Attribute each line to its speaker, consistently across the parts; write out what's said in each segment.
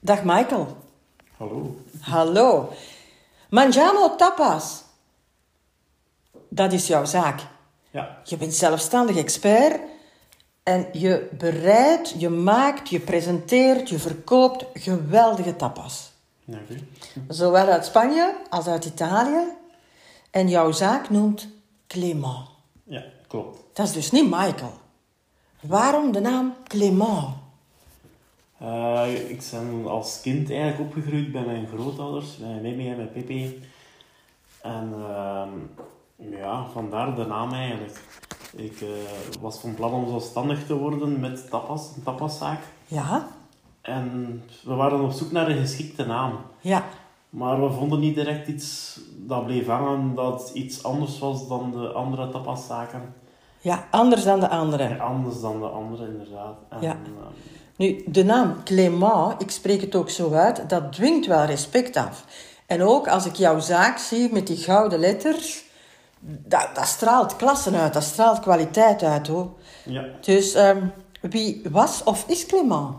Speaker 1: Dag Michael.
Speaker 2: Hallo.
Speaker 1: Hallo. Mangiamo tapas. Dat is jouw zaak.
Speaker 2: Ja.
Speaker 1: Je bent zelfstandig expert en je bereidt, je maakt, je presenteert, je verkoopt geweldige tapas.
Speaker 2: Dank u.
Speaker 1: Zowel uit Spanje als uit Italië. En jouw zaak noemt Clément.
Speaker 2: Ja, klopt.
Speaker 1: Dat is dus niet Michael. Waarom de naam Clément?
Speaker 2: Eh, ik ben als kind eigenlijk opgegroeid bij mijn grootouders, bij Mimi en bij Pippi. En ehm, ja, vandaar de naam eigenlijk. Ik eh, was van plan om zelfstandig te worden met tapas, een tapaszaak.
Speaker 1: Ja?
Speaker 2: En we waren op zoek naar een geschikte naam.
Speaker 1: Ja.
Speaker 2: Maar we vonden niet direct iets dat bleef hangen, dat iets anders was dan de andere tapaszaken.
Speaker 1: Ja, anders dan de anderen.
Speaker 2: En anders dan de andere, inderdaad. En,
Speaker 1: Ja.
Speaker 2: ehm,
Speaker 1: Nu, de naam Clément, ik spreek het ook zo uit, dat dwingt wel respect af. En ook als ik jouw zaak zie met die gouden letters, dat, dat straalt klassen uit, dat straalt kwaliteit uit hoor.
Speaker 2: ja.
Speaker 1: Dus ehm, wie was of is Clément?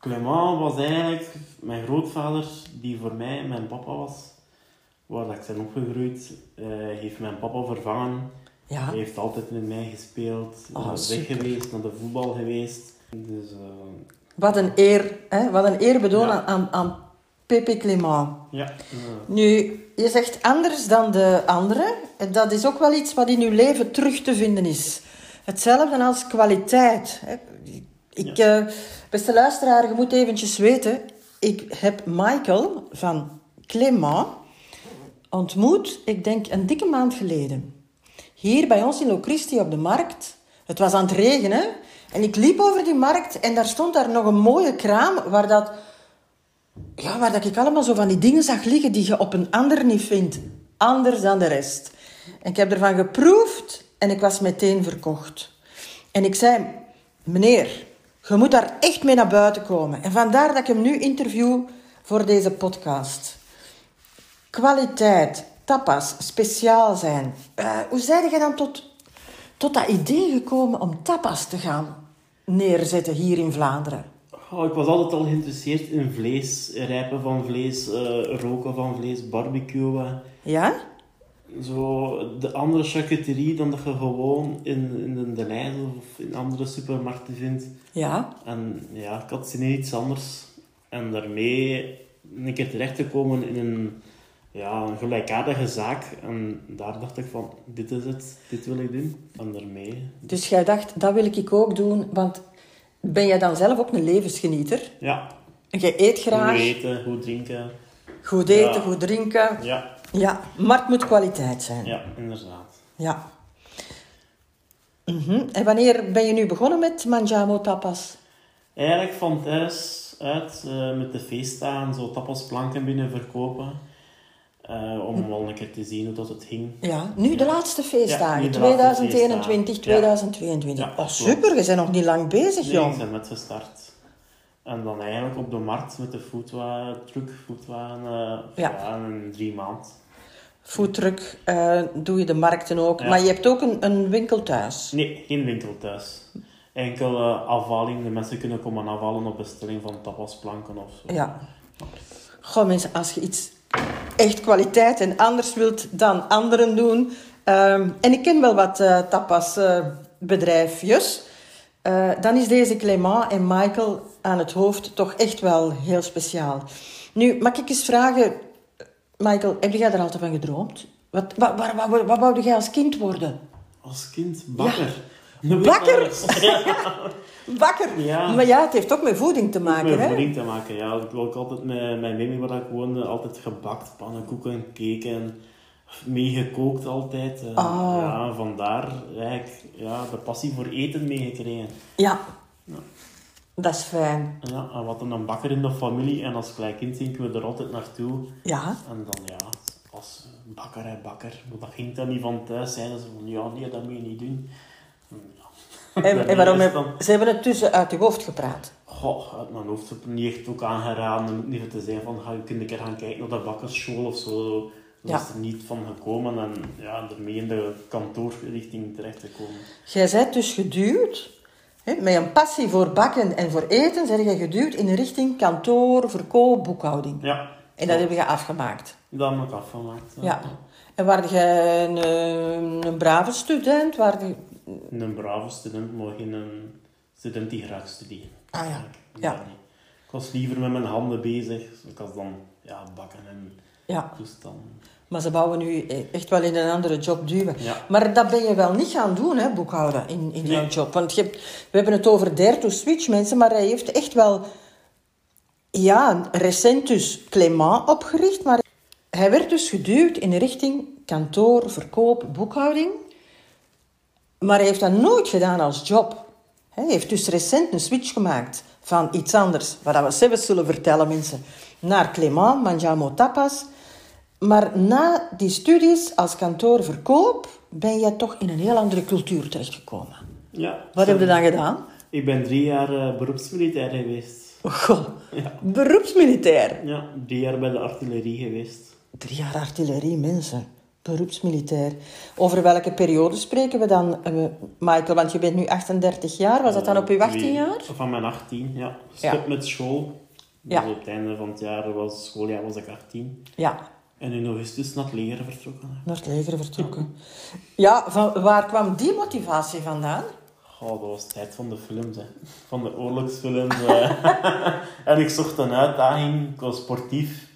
Speaker 2: Clement was eigenlijk mijn grootvader, die voor mij mijn papa was. Waar dat ik ben opgegroeid, eh, heeft mijn papa vervangen.
Speaker 1: Ja,
Speaker 2: Hij heeft altijd met mij gespeeld,
Speaker 1: Ah,
Speaker 2: eh, weg
Speaker 1: super.
Speaker 2: geweest, naar de voetbal geweest. Dus eh,
Speaker 1: wat een eer, hè? wat een eerbetoon
Speaker 2: Ja.
Speaker 1: aan, aan Pepe Clément.
Speaker 2: ja, eh,
Speaker 1: Nu, je zegt anders dan de anderen. Dat is ook wel iets wat in uw leven terug te vinden is. Hetzelfde als kwaliteit. hè. Ik, eh, beste luisteraar, je moet eventjes weten. Ik heb Michael van Clément ontmoet, ik denk een dikke maand geleden. Hier bij ons in Locristi op de markt. Het was aan het regenen. En ik liep over die markt en daar stond daar nog een mooie kraam waar dat ja, waar dat ik allemaal zo van die dingen zag liggen die je op een ander niet vindt. Anders dan de rest. En ik heb ervan geproefd en ik was meteen verkocht. En ik zei, meneer, je moet daar echt mee naar buiten komen. En vandaar dat ik hem nu interview voor deze podcast. Kwaliteit, tapas, speciaal zijn. Eh, hoe zijn je dan tot, tot dat idee gekomen om tapas te gaan neerzetten hier in Vlaanderen?
Speaker 2: oh, ik was altijd al geïnteresseerd in vlees, rijpen van vlees, eh, roken van vlees, barbecuen.
Speaker 1: Ja?
Speaker 2: Zo, de andere charcuterie dan dat je gewoon in, in de Lidl of in andere supermarkten vindt.
Speaker 1: Ja?
Speaker 2: En ja, ik had zin in iets anders. En daarmee een keer terecht te komen in een, ja, een gelijkaardige zaak. En daar dacht ik van, dit is het, dit wil ik doen. En daarmee,
Speaker 1: Dus jij dacht, dat wil ik ook doen, want ben jij dan zelf ook een levensgenieter?
Speaker 2: ja,
Speaker 1: Je eet
Speaker 2: goed
Speaker 1: graag,
Speaker 2: eten, goed drinken.
Speaker 1: goed eten,
Speaker 2: Ja.
Speaker 1: goed drinken.
Speaker 2: Ja,
Speaker 1: Ja, maar het moet kwaliteit zijn. Ja.
Speaker 2: ja, inderdaad.
Speaker 1: Mhm. En wanneer ben je nu begonnen met Mangiamo Tapas?
Speaker 2: Eigenlijk van thuis uit, eh, met de feestdagen, zo tapasplanken binnen verkopen. Eh, om wel een keer te zien hoe dat het ging.
Speaker 1: Ja, nu de
Speaker 2: Ja.
Speaker 1: laatste
Speaker 2: Ja,
Speaker 1: feestdagen,
Speaker 2: nu de laatste
Speaker 1: 2021,
Speaker 2: feestdagen.
Speaker 1: 2022.
Speaker 2: Ja,
Speaker 1: oh,
Speaker 2: klopt.
Speaker 1: super, je bent nog niet lang bezig,
Speaker 2: Nee, ik
Speaker 1: jong.
Speaker 2: ben net gestart. En dan eigenlijk op de markt met de foodwa, truck, foodwa, eh
Speaker 1: Ja.
Speaker 2: ja. in drie maanden.
Speaker 1: Foodtruck, eh, doe je de markten ook.
Speaker 2: Ja.
Speaker 1: Maar je hebt ook een, een winkel thuis.
Speaker 2: Nee, geen winkel thuis. Enkel eh, afvaling, de mensen kunnen komen afhalen op bestelling van tapasplanken of zo.
Speaker 1: Ja. Goh mensen, als je iets echt kwaliteit en anders wilt dan anderen doen. ehm, en ik ken wel wat eh tapasbedrijfjes. dan is deze Clément en Michael aan het hoofd toch echt wel heel speciaal. Nu, mag ik eens vragen, Michael, heb jij er altijd van gedroomd? Wat, wat, wat, wat, wat wou jij als kind worden?
Speaker 2: Als kind bakker. Een
Speaker 1: Bakker?
Speaker 2: bakker. Ja,
Speaker 1: Bakker!
Speaker 2: Ja.
Speaker 1: Maar ja, het heeft ook met voeding te maken,
Speaker 2: met
Speaker 1: hè?
Speaker 2: voeding te maken. Ja, ik wil ook altijd met mijn mimi waar ik woonde, altijd gebakt, pannenkoeken, cake en meegekookt altijd. eh.
Speaker 1: Ah.
Speaker 2: Ja, vandaar eigenlijk ja, de passie voor eten meegekregen.
Speaker 1: Ja.
Speaker 2: Ja.
Speaker 1: Dat is fijn.
Speaker 2: Ja, en we hadden een bakker in de familie en als klein kind gingen we er altijd naartoe.
Speaker 1: Ja.
Speaker 2: En dan ja, als bakker en bakker, maar dat ging dan niet van thuis zijn. Dus van ja, nee, dat moet je niet doen. En ja.
Speaker 1: En, en waarom
Speaker 2: Daarmee is
Speaker 1: heb, ze hebben het tussen uit je hoofd gepraat.
Speaker 2: Goh, uit mijn hoofd heb ik niet echt ook aangeraden om niet te zijn van ga je kunt een keer gaan kijken naar de bakkersschool of zo. Dat
Speaker 1: Ja.
Speaker 2: is er niet van gekomen en ja, daarmee in de kantoorrichting terecht te komen.
Speaker 1: Jij bent dus geduwd Hè, Met een passie voor bakken en voor eten zijn je geduwd in de richting kantoor, verkoop, boekhouding.
Speaker 2: Ja.
Speaker 1: En dat heb je afgemaakt.
Speaker 2: Dan heb ik afgemaakt.
Speaker 1: Ja. En waar jij een, eh, een brave student? Waar die...
Speaker 2: Een brave student, maar geen een student die graag studeert.
Speaker 1: Ah ja. Ja.
Speaker 2: Dat niet. Ik was liever met mijn handen bezig. Ik was dan ja, bakken en dus
Speaker 1: ja.
Speaker 2: toestanden.
Speaker 1: Maar ze bouwen nu eh, echt wel in een andere job duwen.
Speaker 2: Ja.
Speaker 1: Maar dat ben je wel niet gaan doen, hè, boekhouden, in, in jouw
Speaker 2: Nee.
Speaker 1: job. Want je hebt, we hebben het over dare to switch mensen, maar hij heeft echt wel... Ja, recent dus Clément opgericht, maar hij werd dus geduwd in de richting kantoor, verkoop, boekhouding. Maar hij heeft dat nooit gedaan als job. Hij heeft dus recent een switch gemaakt van iets anders, wat we zelfs zullen vertellen mensen, naar Clément, Mangiamo Tapas. Maar na die studies als kantoorverkoop ben jij toch in een heel andere cultuur terechtgekomen.
Speaker 2: Ja.
Speaker 1: Wat heb je dan gedaan?
Speaker 2: Ik ben drie jaar eh, beroepsmilitair geweest.
Speaker 1: Oh, goh, beroepsmilitair.
Speaker 2: Ja, drie jaar bij de artillerie geweest.
Speaker 1: Drie jaar artillerie, mensen. Beroepsmilitair. Over welke periode spreken we dan, eh, Michael? Want je bent nu 38 jaar. Was dat dan op je
Speaker 2: uw
Speaker 1: 18 jaar?
Speaker 2: Eh, Van mijn 18, ja. Stop
Speaker 1: Ja.
Speaker 2: met school. Dus
Speaker 1: Ja.
Speaker 2: op het einde van het jaar was het schooljaar was ik 18.
Speaker 1: Ja,
Speaker 2: En in augustus naar het leger vertrokken.
Speaker 1: naar het leger vertrokken. Ja, van, waar kwam die motivatie vandaan?
Speaker 2: Goh, dat was tijd van de films, hè. Van de oorlogsfilms. hè. en ik zocht een uitdaging. Ik was sportief.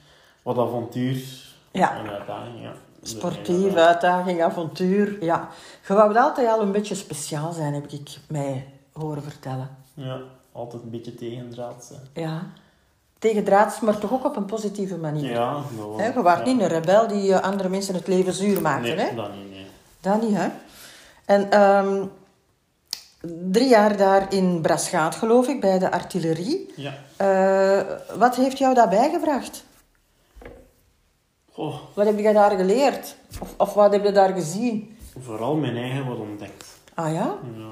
Speaker 2: Wat avontuur.
Speaker 1: Ja.
Speaker 2: Een uitdaging, ja.
Speaker 1: Sportief, uitdaging, avontuur. Ja, je wou altijd al een beetje speciaal zijn, heb ik mij horen vertellen.
Speaker 2: Ja, altijd een beetje tegendraads. hè.
Speaker 1: Ja. Tegendraads, maar toch ook op een positieve manier.
Speaker 2: Ja, dat was...
Speaker 1: Hè, je was
Speaker 2: ja.
Speaker 1: niet een rebel die eh, andere mensen het leven zuur maakte.
Speaker 2: Nee,
Speaker 1: hè?
Speaker 2: dat niet, nee.
Speaker 1: Dat niet, hè? En ehm, drie jaar daar in Braschaat, geloof ik, bij de artillerie.
Speaker 2: Ja.
Speaker 1: Eh, wat heeft jou daarbij gebracht?
Speaker 2: Goh,
Speaker 1: Wat heb je daar geleerd? Of, of wat heb je daar gezien?
Speaker 2: vooral mijn eigen wat ontdekt.
Speaker 1: Ah ja?
Speaker 2: Ja.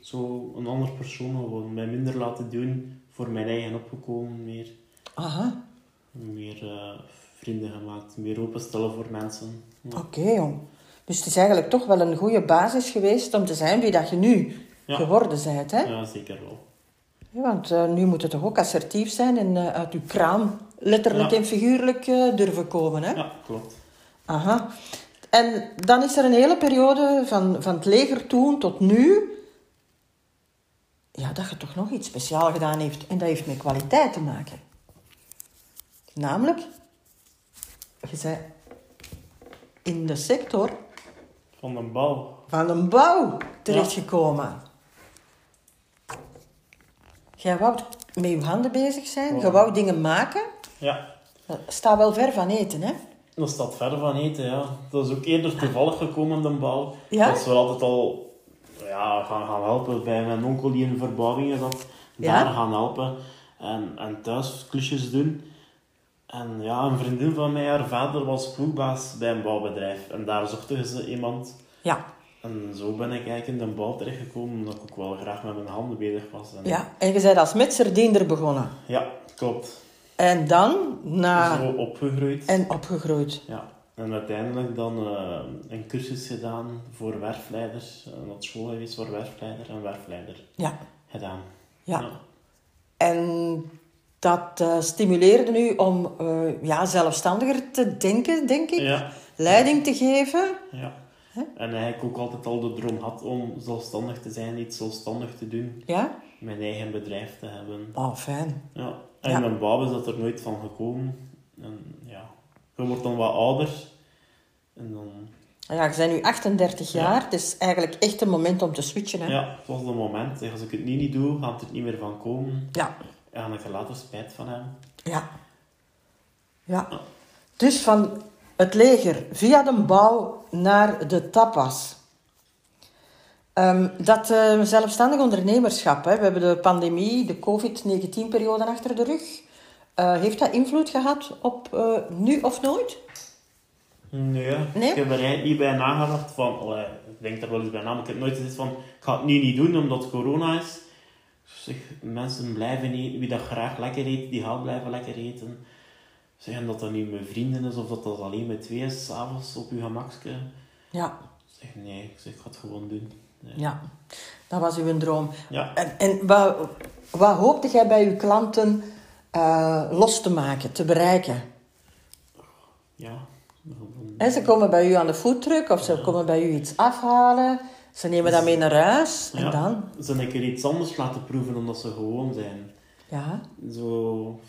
Speaker 2: Zo een ander persoon wat mij minder laten doen. Voor mijn eigen opgekomen meer.
Speaker 1: Aha.
Speaker 2: Meer eh, vrienden gemaakt. Meer openstellen voor mensen. Ja.
Speaker 1: Oké, jong. Dus het is eigenlijk toch wel een goede basis geweest om te zijn wie dat je nu
Speaker 2: Ja.
Speaker 1: geworden bent, hè?
Speaker 2: ja, zeker wel.
Speaker 1: Ja, want eh, nu moet het toch ook assertief zijn en eh, uit uw kraam letterlijk
Speaker 2: Ja.
Speaker 1: en figuurlijk eh, durven komen, hè?
Speaker 2: Ja, klopt.
Speaker 1: Aha. En dan is er een hele periode van, van het leger toen tot nu. Ja, dat je toch nog iets speciaals gedaan heeft. En dat heeft met kwaliteit te maken. Namelijk, je bent in de sector
Speaker 2: Van de bal.
Speaker 1: van een bouw terechtgekomen. Jij wou met je handen bezig zijn, je wou dingen maken.
Speaker 2: Ja,
Speaker 1: Dat staat wel ver van eten, hè?
Speaker 2: dat staat ver van eten, ja. Dat is ook eerder toevallig gekomen, de bal.
Speaker 1: Ja?
Speaker 2: Dat ze wel altijd al ja, gaan, gaan helpen bij mijn onkel die in verbouwingen zat.
Speaker 1: Ja?
Speaker 2: Daar gaan helpen. En, en thuis klusjes doen. En ja, een vriendin van mij, haar vader was ploegbaas bij een bouwbedrijf. En daar zochten ze iemand.
Speaker 1: Ja,
Speaker 2: En zo ben ik eigenlijk in de bouw terechtgekomen, omdat ik ook wel graag met mijn handen bezig was. En,
Speaker 1: ja. En je bent als metserdiender begonnen.
Speaker 2: Ja, klopt.
Speaker 1: En dan na
Speaker 2: Zo opgegroeid.
Speaker 1: en opgegroeid.
Speaker 2: Ja, en uiteindelijk dan eh, een cursus gedaan voor werfleiders. Uh, op school geweest voor werfleider en werfleider
Speaker 1: Ja,
Speaker 2: gedaan.
Speaker 1: ja. En dat eh, stimuleerde u om eh, ja, zelfstandiger te denken, denk ik.
Speaker 2: Ja,
Speaker 1: Leiding te geven.
Speaker 2: ja. En eigenlijk ook altijd al de droom had om zelfstandig te zijn, iets zelfstandig te doen.
Speaker 1: Ja?
Speaker 2: Mijn eigen bedrijf te hebben.
Speaker 1: Oh, fijn.
Speaker 2: Ja. En
Speaker 1: Ja.
Speaker 2: mijn bouw is dat er nooit van gekomen. En ja, je wordt dan wat ouder. En dan...
Speaker 1: Ja, je bent nu 38 jaar. Het is eigenlijk echt een moment om te switchen. Hè?
Speaker 2: Ja, het was het moment. Als ik het nu niet doe, gaat het er niet meer van komen.
Speaker 1: ja.
Speaker 2: En dan heb ik er later spijt van hebben.
Speaker 1: Ja. Ja. Dus van het leger via de bouw naar de tapas. Ehm, dat eh, zelfstandig ondernemerschap, hè, we hebben de pandemie, de COVID-19-periode achter de rug. Eh, heeft dat invloed gehad op eh, nu of nooit?
Speaker 2: Nee,
Speaker 1: Nee?
Speaker 2: ik heb er eigenlijk niet bij nagedacht van, allee, ik denk er wel eens bij na, maar ik heb nooit gezegd van, ik ga het nu niet doen omdat het corona is. Zeg, mensen blijven eten, wie dat graag lekker eet, die gaat blijven lekker eten. Zeg, en dat dat nu met vrienden is of dat dat alleen met twee is, s'avonds op je gemakje.
Speaker 1: Ja.
Speaker 2: Zeg, nee, ik, zeg, ik ga het gewoon doen.
Speaker 1: Ja, dat was uw droom.
Speaker 2: Ja.
Speaker 1: En, en wat, wat hoopte jij bij uw klanten eh, los te maken, te bereiken?
Speaker 2: Ja. Dan-
Speaker 1: Hè, ze komen bij u aan de foodtruck of ze komen bij u iets afhalen. Ze nemen dat mee naar huis.
Speaker 2: ja.
Speaker 1: En dan?
Speaker 2: Ze een keer iets anders laten proeven omdat ze gewoon zijn.
Speaker 1: Ja.
Speaker 2: Zo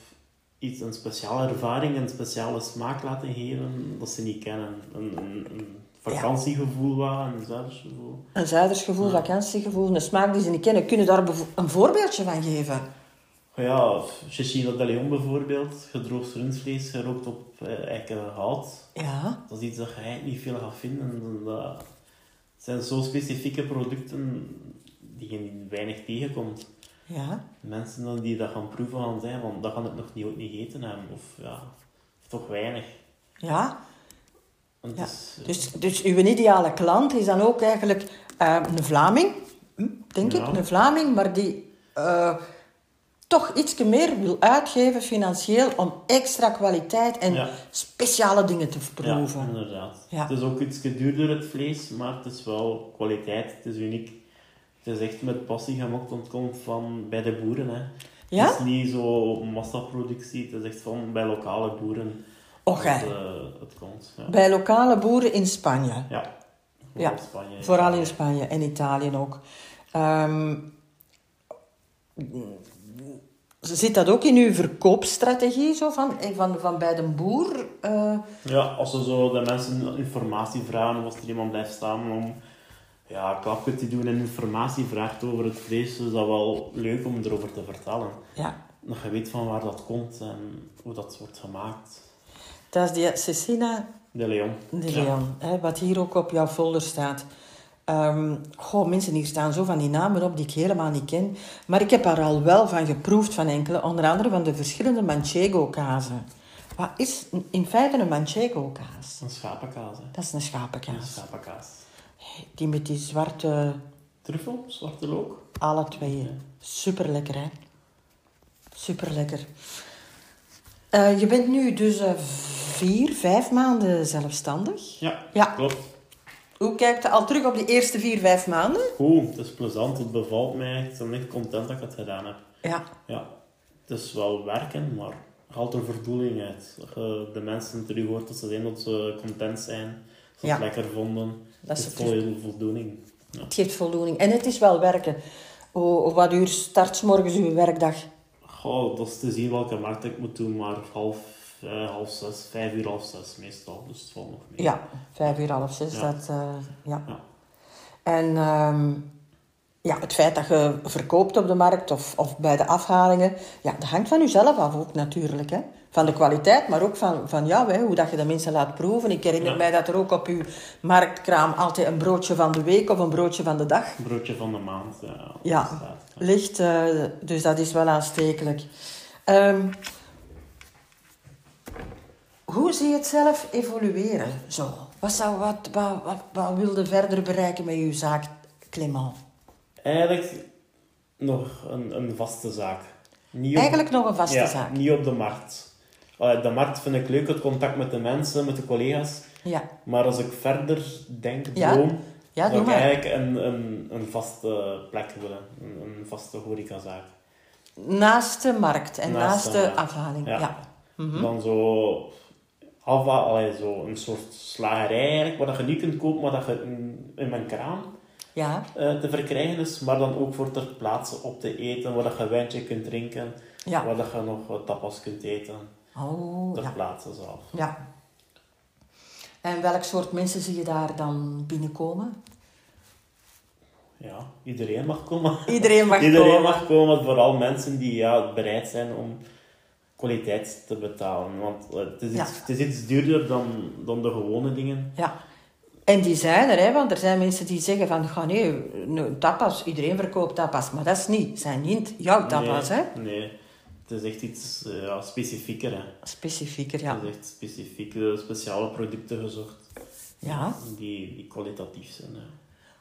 Speaker 2: iets, een speciale ervaring, een speciale smaak laten geven dat ze niet kennen. Een, een, een vakantiegevoel, wat, een zuidersgevoel.
Speaker 1: Een zuidersgevoel, vakantiegevoel, een smaak die ze niet kennen. Kunnen daar bevo- een voorbeeldje van geven?
Speaker 2: Ja, of Cecina de Leon bijvoorbeeld, gedroogd rundvlees, gerookt op eh, eiken hout.
Speaker 1: Ja.
Speaker 2: Dat is iets dat je eigenlijk niet veel gaat vinden. En Dat zijn zo specifieke producten die je weinig tegenkomt.
Speaker 1: Ja.
Speaker 2: Mensen dan die dat gaan proeven gaan zijn, want dat gaan het nog niet, ook niet eten hebben. Of ja, of toch weinig.
Speaker 1: Ja.
Speaker 2: En het
Speaker 1: Ja,
Speaker 2: is, eh,
Speaker 1: Dus, dus uw ideale klant is dan ook eigenlijk eh, een Vlaming, hm, denk
Speaker 2: Ja.
Speaker 1: ik, een Vlaming, maar die eh, toch iets meer wil uitgeven financieel om extra kwaliteit en
Speaker 2: Ja.
Speaker 1: speciale dingen te
Speaker 2: Ja,
Speaker 1: proeven.
Speaker 2: inderdaad.
Speaker 1: Ja.
Speaker 2: Het is ook iets duurder het vlees, maar het is wel kwaliteit, het is uniek. Het is echt met passie gemaakt, want het komt van bij de boeren. Hè.
Speaker 1: Ja?
Speaker 2: Het is niet zo massaproductie, het is echt van bij lokale boeren.
Speaker 1: Och, hè.
Speaker 2: dat, eh, het komt. Ja,
Speaker 1: Bij lokale boeren in Spanje.
Speaker 2: ja.
Speaker 1: Ja,
Speaker 2: Vooral Spanje.
Speaker 1: Vooral in Spanje en Italië ook. Ehm, zit dat ook in uw verkoopstrategie, zo van, eh, van, van bij de boer? eh,
Speaker 2: Ja, als ze zo de mensen informatie vragen, of als er iemand blijft staan om ja, een klapje te doen en informatie vraagt over het vlees, is dat wel leuk om erover te vertellen.
Speaker 1: ja,
Speaker 2: Dat je weet van waar dat komt en hoe dat wordt gemaakt.
Speaker 1: dat is die Cecina
Speaker 2: De Leon.
Speaker 1: De
Speaker 2: Ja.
Speaker 1: Leon, hè, wat hier ook op jouw folder staat. Ehm, goh, mensen, hier staan zo van die namen op die ik helemaal niet ken. Maar ik heb er al wel van geproefd van enkele. Onder andere van de verschillende Manchego-kazen. Wat is in feite een Manchego-kaas?
Speaker 2: Een schapenkaas, hè.
Speaker 1: Dat is een
Speaker 2: Een
Speaker 1: schapenkaas.
Speaker 2: schapenkaas.
Speaker 1: Die met die zwarte,
Speaker 2: Truffel, zwarte look.
Speaker 1: alle twee. Super lekker, hè? Super lekker. je bent nu dus eh, vier, vijf maanden zelfstandig.
Speaker 2: Ja,
Speaker 1: Ja.
Speaker 2: klopt.
Speaker 1: Hoe kijkt je al terug op die eerste vier, vijf maanden?
Speaker 2: Goed, het is plezant, het bevalt mij echt. Ik ben echt content dat ik het gedaan heb.
Speaker 1: Ja,
Speaker 2: Ja, het is wel werken, maar haalt er voldoening uit. Dat je de mensen terug hoort dat ze zijn dat ze content zijn. Dat ze het
Speaker 1: Ja.
Speaker 2: lekker vonden.
Speaker 1: Dat
Speaker 2: Dat
Speaker 1: is
Speaker 2: is vol voldoening. Ja.
Speaker 1: het geeft voldoening. En het is wel werken. O, wat uur start 's morgens uw werkdag?
Speaker 2: Goh, dat is te zien welke markt ik moet doen, maar half, eh, half zes, vijf uur half zes meestal. Dus het valt nog mee.
Speaker 1: Ja, vijf uur, half zes.
Speaker 2: Ja.
Speaker 1: Dat, eh, ja.
Speaker 2: Ja.
Speaker 1: En ehm, ja, het feit dat je verkoopt op de markt of, of bij de afhalingen, ja, dat hangt van jezelf af ook natuurlijk. Hè? Van de kwaliteit, maar ook van, van jou, hè, hoe dat je de mensen laat proeven. Ik herinner
Speaker 2: Ja.
Speaker 1: mij dat er ook op uw marktkraam altijd een broodje van de week of een broodje van de dag
Speaker 2: Broodje van de maand. Ja.
Speaker 1: Ja.
Speaker 2: staat, ja.
Speaker 1: ligt. eh, dus dat is wel aanstekelijk. Ehm, hoe zie je het zelf evolueren? Zo? Wat, zou, wat, wat, wat, wat wilde verder bereiken met uw zaak, Clément?
Speaker 2: Eigenlijk nog een, een vaste zaak. Niet op-
Speaker 1: Eigenlijk nog een vaste
Speaker 2: ja,
Speaker 1: zaak.
Speaker 2: Niet op de markt. Eh, de markt vind ik leuk, het contact met de mensen, met de collega's.
Speaker 1: Ja,
Speaker 2: Maar als ik verder denk,
Speaker 1: Ja?
Speaker 2: droom,
Speaker 1: ja
Speaker 2: zou
Speaker 1: doe
Speaker 2: ik
Speaker 1: maar.
Speaker 2: eigenlijk een, een, een vaste plek willen. Een, een vaste horecazaak.
Speaker 1: Naast de markt en naast,
Speaker 2: Naast de
Speaker 1: de
Speaker 2: markt.
Speaker 1: afhaling. Ja. ja.
Speaker 2: Dan zo, alva, allee, zo een soort slagerij eigenlijk, waar dat je niet kunt kopen, maar dat je in, in mijn kraam eh, te verkrijgen is, maar dan ook voor ter plaatse op te eten, waar dat je wijntje kunt drinken,
Speaker 1: Ja.
Speaker 2: waar dat je nog wat tapas kunt eten,
Speaker 1: Oh,
Speaker 2: ter
Speaker 1: ja.
Speaker 2: plaatse zelf.
Speaker 1: ja. En welk soort mensen zie je daar dan binnenkomen?
Speaker 2: Ja, iedereen mag komen.
Speaker 1: Iedereen mag
Speaker 2: iedereen
Speaker 1: komen.
Speaker 2: mag komen, vooral mensen die ja, bereid zijn om kwaliteit te betalen. Want eh, het is
Speaker 1: Ja.
Speaker 2: iets, het is iets duurder dan, dan de gewone dingen.
Speaker 1: Ja. En die zijn er, hè, want er zijn mensen die zeggen van, ga nee, nee, tapas, iedereen verkoopt tapas. Maar dat is niet, zijn niet jouw tapas,
Speaker 2: nee,
Speaker 1: hè.
Speaker 2: Nee, het is echt iets eh, ja, specifieker. Hè.
Speaker 1: Specifieker, ja.
Speaker 2: Het is echt specifieke, speciale producten gezocht
Speaker 1: Ja.
Speaker 2: die, die kwalitatief zijn. Hè.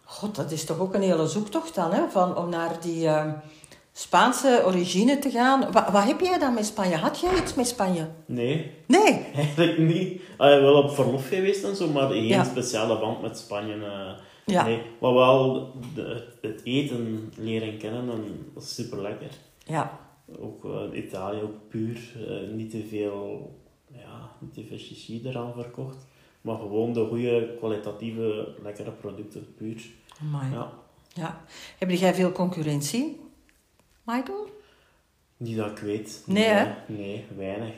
Speaker 1: God, dat is toch ook een hele zoektocht dan, hè, van, om naar die eh, Spaanse origine te gaan. Wat, wat heb jij dan met Spanje? Had jij iets met Spanje?
Speaker 2: Nee,
Speaker 1: Nee.
Speaker 2: eigenlijk niet. Ah, ja, wel op verlof geweest en zo, maar geen
Speaker 1: Ja.
Speaker 2: speciale band met Spanje. eh,
Speaker 1: Ja.
Speaker 2: Nee, maar wel de- het eten leren kennen en dat is super lekker.
Speaker 1: Ja,
Speaker 2: Ook eh, Italië, ook puur. eh, niet te veel, ja, niet te veel chichi eraan verkocht. Maar gewoon de goede, kwalitatieve, lekkere producten, puur.
Speaker 1: mooi. Ja.
Speaker 2: Ja.
Speaker 1: Heb jij veel concurrentie, Michael?
Speaker 2: Niet dat ik weet.
Speaker 1: Nee, hè?
Speaker 2: Nee, weinig.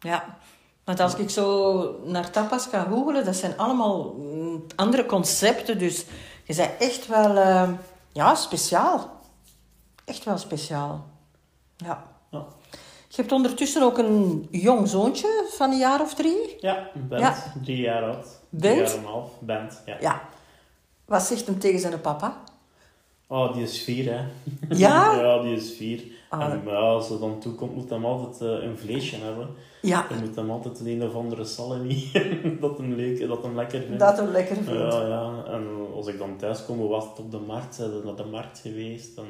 Speaker 1: Ja. Want als ik zo naar tapas ga googelen, dat zijn allemaal mm, andere concepten. Dus je bent echt wel eh, ja, speciaal. Echt wel speciaal. Ja.
Speaker 2: Ja,
Speaker 1: Je hebt ondertussen ook een jong zoontje van een jaar of drie.
Speaker 2: ja band.
Speaker 1: Ja.
Speaker 2: Drie jaar oud.
Speaker 1: Band?
Speaker 2: Drie jaar en een half. Band, ja.
Speaker 1: Ja. Wat zegt hem tegen zijn papa?
Speaker 2: Oh, die is vier, hè.
Speaker 1: Ja?
Speaker 2: ja, die is vier.
Speaker 1: Ah.
Speaker 2: En maar ja, als ze dan toekomt, moet hem altijd eh, een vleesje hebben.
Speaker 1: Ja,
Speaker 2: Je moet hem altijd een of andere salami. dat hem leuk, dat hem lekker vindt.
Speaker 1: dat hem lekker vindt.
Speaker 2: Ja, ja. En als ik dan thuis kom, was het op de markt. Zijn we naar de markt geweest. Dan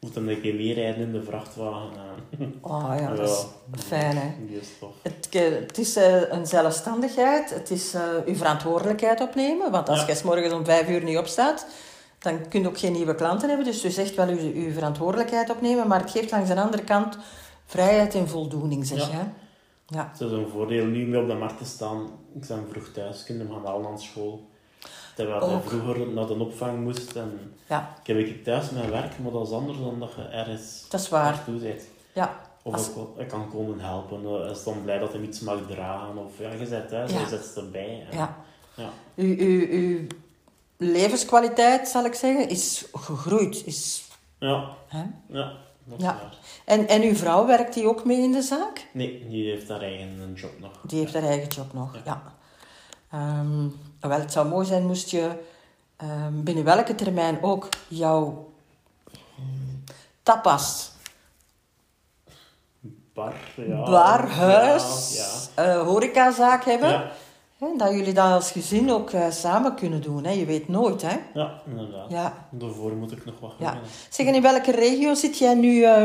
Speaker 2: moet hem een keer meerijden in de vrachtwagen. En,
Speaker 1: Oh ja, dat is fijn hè.
Speaker 2: die is tof.
Speaker 1: Het, ke- het is eh, een zelfstandigheid, het is eh je verantwoordelijkheid opnemen. Want als
Speaker 2: Ja.
Speaker 1: je 's morgens om vijf uur niet opstaat, dan kun je ook geen nieuwe klanten hebben. Dus je zegt wel je, je verantwoordelijkheid opnemen, maar het geeft langs de andere kant vrijheid en voldoening, zeg
Speaker 2: Ja.
Speaker 1: je. hè. Ja.
Speaker 2: Het is een voordeel nu mee op de markt te staan. Ik ben vroeg thuis, kunnen hem gaan halen aan school. Terwijl hij
Speaker 1: Ook.
Speaker 2: vroeger naar de opvang moest. En
Speaker 1: ja,
Speaker 2: ik heb ik thuis mijn werk, maar dat is anders dan dat je ergens
Speaker 1: dat is waar.
Speaker 2: naartoe bent.
Speaker 1: Ja,
Speaker 2: Of
Speaker 1: Als-
Speaker 2: ik, kon- ik kan komen helpen. Hij is dan blij dat hij iets mag dragen. Of ja, je bent thuis,
Speaker 1: Ja.
Speaker 2: je zit erbij. En-
Speaker 1: ja.
Speaker 2: ja.
Speaker 1: Uw, uw, uw levenskwaliteit, zal ik zeggen, is gegroeid. Is,
Speaker 2: Ja,
Speaker 1: hè?
Speaker 2: ja, dat is
Speaker 1: Ja.
Speaker 2: waar.
Speaker 1: En, en uw vrouw, werkt die ook mee in de zaak?
Speaker 2: Nee, die heeft haar eigen job nog.
Speaker 1: Die heeft haar eigen job nog,
Speaker 2: Ja.
Speaker 1: ja. Ehm, wel, het zou mooi zijn moest je ehm, binnen welke termijn ook jouw mm, tapas,
Speaker 2: Bar, ja.
Speaker 1: bar, huis,
Speaker 2: Ja,
Speaker 1: eh, horecazaak
Speaker 2: ja.
Speaker 1: hebben.
Speaker 2: ja.
Speaker 1: Hè, dat jullie dat als gezin ook eh, samen kunnen doen. Hè? Je weet nooit, hè?
Speaker 2: ja, inderdaad.
Speaker 1: Ja.
Speaker 2: Daarvoor moet ik nog wat
Speaker 1: Ja.
Speaker 2: gaan.
Speaker 1: Zeg, en in welke regio zit jij nu eh,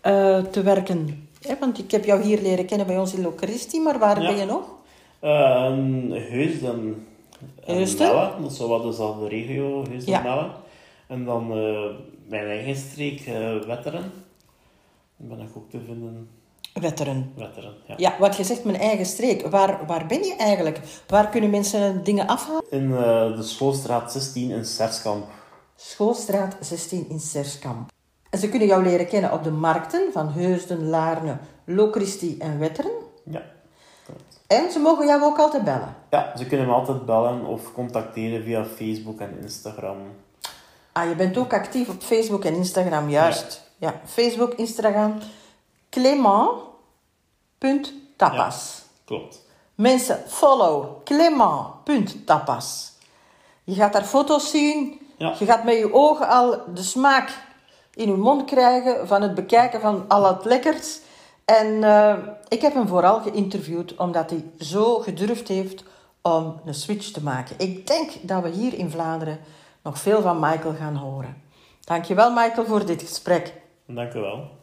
Speaker 1: eh, te werken? Hè, want ik heb jou hier leren kennen bij ons in Locaristi, maar waar
Speaker 2: Ja.
Speaker 1: ben je nog?
Speaker 2: Ehm, Heusden. en
Speaker 1: Heusden?
Speaker 2: Melle, dat is zo wat dezelfde regio, Heusden
Speaker 1: Ja.
Speaker 2: en Melle. En dan eh, mijn eigen streek, eh, Wetteren. Daar ben ik ook te vinden.
Speaker 1: Wetteren.
Speaker 2: Wetteren, ja.
Speaker 1: Ja, wat je zegt, mijn eigen streek. Waar, waar ben je eigenlijk? Waar kunnen mensen dingen afhalen?
Speaker 2: In eh, de schoolstraat 16 in Serskamp.
Speaker 1: Schoolstraat 16 in Serskamp. En ze kunnen jou leren kennen op de markten van Heusden, Laarne, Locristi en Wetteren.
Speaker 2: Ja.
Speaker 1: En ze mogen jou ook altijd bellen.
Speaker 2: ja, ze kunnen me altijd bellen of contacteren via Facebook en Instagram.
Speaker 1: Ah, je bent ook actief op Facebook en Instagram, juist. Ja, Facebook, Instagram. Clement.tapas.
Speaker 2: Klopt.
Speaker 1: Mensen, follow clement.tapas. Je gaat daar foto's zien.
Speaker 2: Ja.
Speaker 1: Je gaat met je ogen al de smaak in je mond krijgen van het bekijken van al het lekkers. En eh, ik heb hem vooral geïnterviewd omdat hij zo gedurfd heeft om een switch te maken. Ik denk dat we hier in Vlaanderen nog veel van Michael gaan horen. Dankjewel Michael voor dit gesprek.
Speaker 2: Dank u wel.